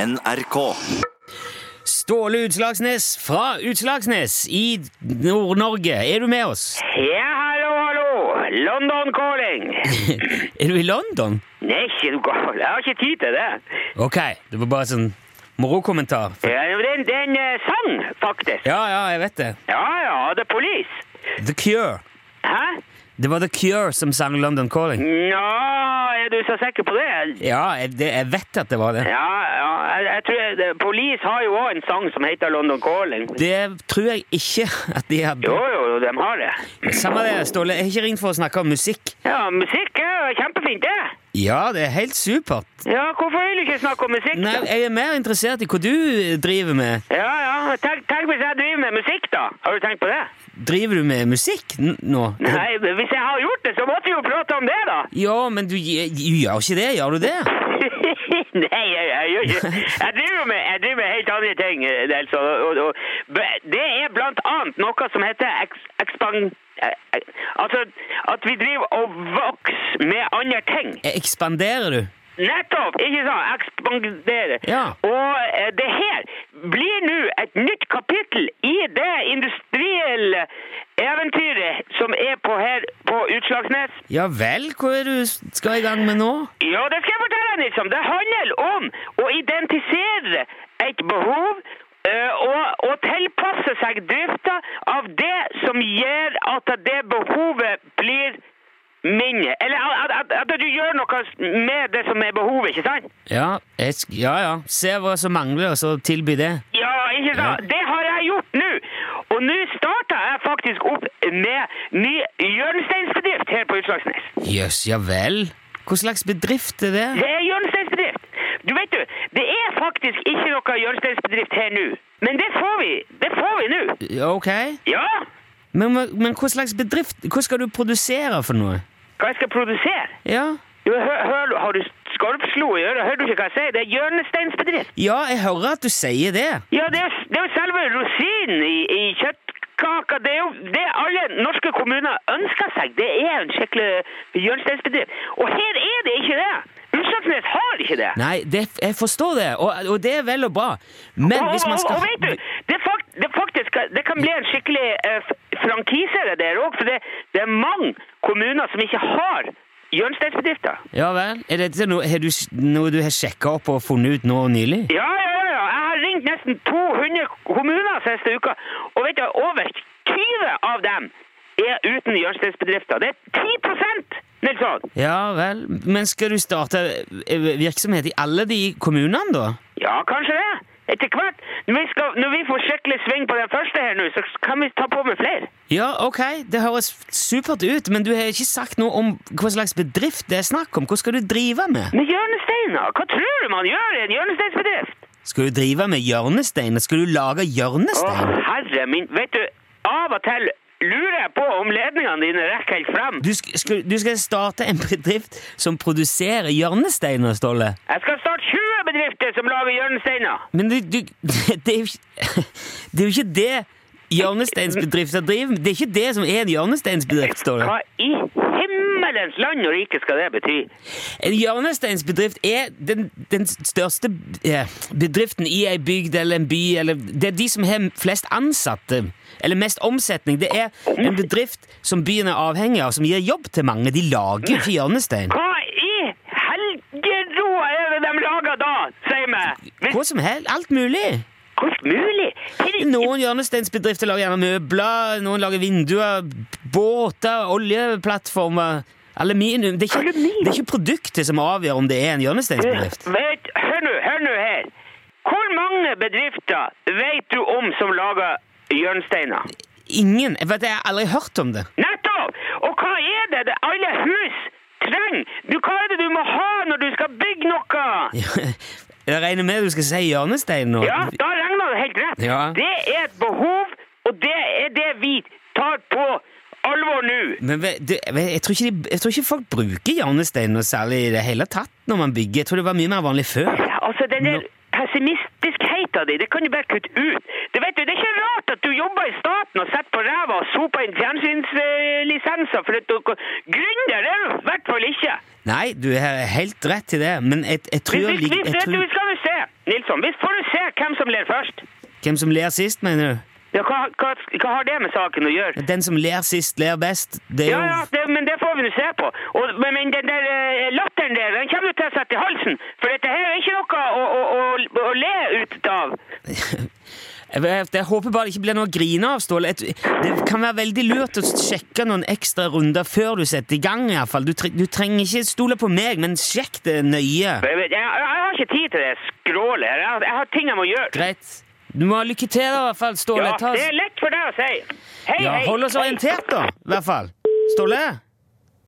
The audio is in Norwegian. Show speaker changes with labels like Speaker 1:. Speaker 1: NRK.
Speaker 2: Ståle Utslagsnes fra Utslagsnes i Nord-Norge. Er du med oss?
Speaker 3: Ja, hallo, hallo. London calling.
Speaker 2: Er du i London?
Speaker 3: Nei, ikke noe galt. Jeg har ikke tid til det.
Speaker 2: Ok, det var bare sånn morokommentar.
Speaker 3: Ja, jo, den, den eh, sang, faktisk.
Speaker 2: Ja, ja, jeg vet det.
Speaker 3: Ja, ja, The Police.
Speaker 2: The Cure.
Speaker 3: Hæ?
Speaker 2: Det var The Cure som sang London Calling.
Speaker 3: Nå, er du så sikker på det?
Speaker 2: Ja, jeg, det, jeg vet at det var det.
Speaker 3: Ja, ja. Jeg, jeg tror eh, Police har jo òg en sang som heter London calling.
Speaker 2: Det tror jeg ikke at de
Speaker 3: Jo,
Speaker 2: hadde.
Speaker 3: jo, de har det.
Speaker 2: Samme det, Ståle. Jeg har ikke ringt for å snakke om musikk.
Speaker 3: Ja, musikk er jo kjempefint, det.
Speaker 2: Ja, det er helt supert.
Speaker 3: Ja, hvorfor vil du ikke snakke om musikk?
Speaker 2: Nei,
Speaker 3: da?
Speaker 2: jeg er mer interessert i hva du driver med.
Speaker 3: Ja, ja. Tenk, tenk hvis jeg driver med musikk, da. Har du tenkt på det?
Speaker 2: Driver du med musikk n nå?
Speaker 3: Nei, men hvis jeg har gjort det, så måtte vi jo prate om det, da.
Speaker 2: Ja, men du, gj- du gjør ikke det, gjør du det?
Speaker 3: Nei, jeg, jeg gjør ikke Jeg driver med, jeg driver med helt andre ting. eh, Altså, og, og, b- det er blant annet noe som heter eks, ekspang... eh, eh, Altså at vi driver og vokser med andre ting.
Speaker 2: Ekspanderer du?
Speaker 3: Nettopp! Ikke sant? Ekspandere.
Speaker 2: Ja.
Speaker 3: Og eh, det her blir nå et nytt kapittel i det industrielle eventyret som er på her på Utslagsnes.
Speaker 2: Ja vel, hva er det du s- skal i gang med nå?
Speaker 3: Ja, det skal jeg fortelle deg, Nilsson. Det handler om å identifisere et behov eh, og, og tilpasse seg drifta av det som gjør at det behovet blir mindre. Eller at, at, at du gjør noe med det som er behovet, ikke sant?
Speaker 2: Ja, jeg, sk- ja, ja. Se hva som mangler, og så tilby det.
Speaker 3: Ja, ikke sant?
Speaker 2: Ja.
Speaker 3: Det har jeg gjort nå. Og nå starta jeg faktisk opp med ny hjørnesteinsbedrift her på Utslagsnes.
Speaker 2: Jøss, ja vel. Hva slags bedrift er det?
Speaker 3: Det er hjørnesteinsbedrift. Du vet du, det er faktisk ikke noe hjørnesteinsbedrift her nå. Men det får vi. Det får vi nå.
Speaker 2: Ja, Ok.
Speaker 3: Ja.
Speaker 2: Men, hva- men hva slags bedrift Hva skal du produsere for noe?
Speaker 3: Hva jeg skal produsere?
Speaker 2: Ja,
Speaker 3: Du, hør, hør, har du skarpslo i øret? Hører du ikke hva jeg sier? Det er hjørnesteinsbedrift.
Speaker 2: ja jeg hører at du sier det.
Speaker 3: Ja, det er, jo- det er jo selve rosinen i, i kjøttkaka. Det er jo det alle norske kommuner ønsker seg. Det er en skikkelig hjørnesteinsbedrift. Og her er det ikke det. Utslagsnes har ikke det.
Speaker 2: Nei, det, jeg forstår det, og, og det er vel og bra, men
Speaker 3: Og,
Speaker 2: hvis man
Speaker 3: og,
Speaker 2: skal
Speaker 3: og vet du, det, er fakt, det, er faktisk, det kan bli en skikkelig eh, f- frankise det der òg. For det, det er mange kommuner som ikke har hjørnesteinsbedrifter.
Speaker 2: Ja vel. Er dette noe, har du, s- noe du har sjekka opp og funnet ut nå nylig?
Speaker 3: Ja, ja, ja, ja. Jeg har ringt nesten 200 kommuner siste uka, og vet du, over 20 av dem er uten hjørnesteinsbedrifter. Det er 10 Nilsson!
Speaker 2: Ja vel. Men skal du starte eh, virksomhet i alle de kommunene, da?
Speaker 3: Ja, kanskje det. Etter hvert. Når vi, skal, når vi får skikkelig sving på den første her nå, så kan vi ta på med flere.
Speaker 2: Ja, ok, det høres supert ut, men du har ikke sagt noe om hva slags bedrift det er snakk om. Hva skal du drive med?
Speaker 3: Men hjørnesteiner, hva tror du man gjør i en hjørnesteinsbedrift?
Speaker 2: Skal du drive med hjørnesteiner? Skal du lage
Speaker 3: Å,
Speaker 2: hjørnestein?
Speaker 3: herre min. Vet du, av og til lurer jeg på om ledningene dine rekker helt frem.
Speaker 2: Du, sk skal, du skal starte en bedrift som produserer hjørnesteiner, Ståle.
Speaker 3: Jeg skal starte 20 bedrifter som lager hjørnesteiner.
Speaker 2: Men du, du det, er jo ikke, det er jo ikke det hjørnesteinsbedrifter driver med. Det er ikke det som er en hjørnesteinsbedrift, Ståle.
Speaker 3: Hva i himmelens land og rike skal det bety?
Speaker 2: En hjørnesteinsbedrift er den, den største eh, bedriften i ei bygd eller en by. Eller, det er de som har flest ansatte, eller mest omsetning. Det er en bedrift som byen er avhengig av, som gir jobb til mange. De lager jo ikke hjørnestein.
Speaker 3: Hva i helgero er det de lager da, sier meg? Hvis
Speaker 2: Hva som helst. Alt mulig.
Speaker 3: hvordan mulig? Herre-
Speaker 2: Noen hjørnesteinsbedrifter lager gjerne møbler, noen lager vinduer, båter, oljeplattformer, aluminium Det er ikke,
Speaker 3: Aluminium?
Speaker 2: det er ikke produktet som avgjør om det er en hjørnesteinsbedrift.
Speaker 3: Vet, hør nå, hør nå her. Hvor mange bedrifter vet du om som lager hjørnesteiner?
Speaker 2: Ingen. Jeg vet, jeg har aldri hørt om det.
Speaker 3: Nettopp! Og hva er det, det alle hus trenger? Du, hva er det du må ha når du skal bygge noe?
Speaker 2: Jeg regner med du skal si hjørnestein nå.
Speaker 3: Ja, da regner det helt rett.
Speaker 2: Ja.
Speaker 3: Det er et behov, og det er det vi tar på alvor nå.
Speaker 2: Men ve- du, ve- jeg, tror ikke de, jeg tror ikke folk bruker hjørnestein noe særlig i det hele tatt når man bygger. Jeg tror det var mye mer vanlig før.
Speaker 3: Ja, Altså, den der
Speaker 2: Nå-
Speaker 3: pessimistiskheten din, det kan du bare kutte ut. Det, vet du, det er ikke rart at du jobber i staten og setter på ræva og soper inn fjernsynslisenser. For at du, gründer er du i hvert fall ikke.
Speaker 2: Nei, du har helt rett i det, men jeg, jeg tror
Speaker 3: Hvis,
Speaker 2: jeg
Speaker 3: hvis,
Speaker 2: ligger
Speaker 3: hvis,
Speaker 2: jeg
Speaker 3: vet du,
Speaker 2: tror,
Speaker 3: skal du se, Nilsson, hvis får du se hvem som ler først.
Speaker 2: Hvem som ler sist, mener du?
Speaker 3: Ja, hva, hva, hva har det med saken å gjøre?
Speaker 2: Den som ler sist, ler best. Det er
Speaker 3: Ja,
Speaker 2: jo
Speaker 3: ja, det, men det får vi nå se på. Og, men, men den der eh, latteren der, den kommer du til å sette i halsen. For dette her er ikke noe å, å, å, å le ut av.
Speaker 2: Jeg vet- jeg håper bare det ikke blir noe å grine av, Ståle. Jeg- Det kan være veldig lurt å sjekke noen ekstra runder før du setter i gang. i hvert fall. Du, tre du trenger ikke stole på meg, men sjekk det nøye.
Speaker 3: Jeg, vet- jeg, jeg har ikke tid til det skrålet her. Jeg, har- jeg har ting jeg må gjøre.
Speaker 2: Greit. Du må ha lykke til, da, i hvert fall, Ståle.
Speaker 3: Ja,
Speaker 2: Ta-
Speaker 3: det er lett for deg å si. Hei,
Speaker 2: ja,
Speaker 3: hei.
Speaker 2: hold oss
Speaker 3: Hei.
Speaker 2: orientert, da, i hvert fall. Ståle?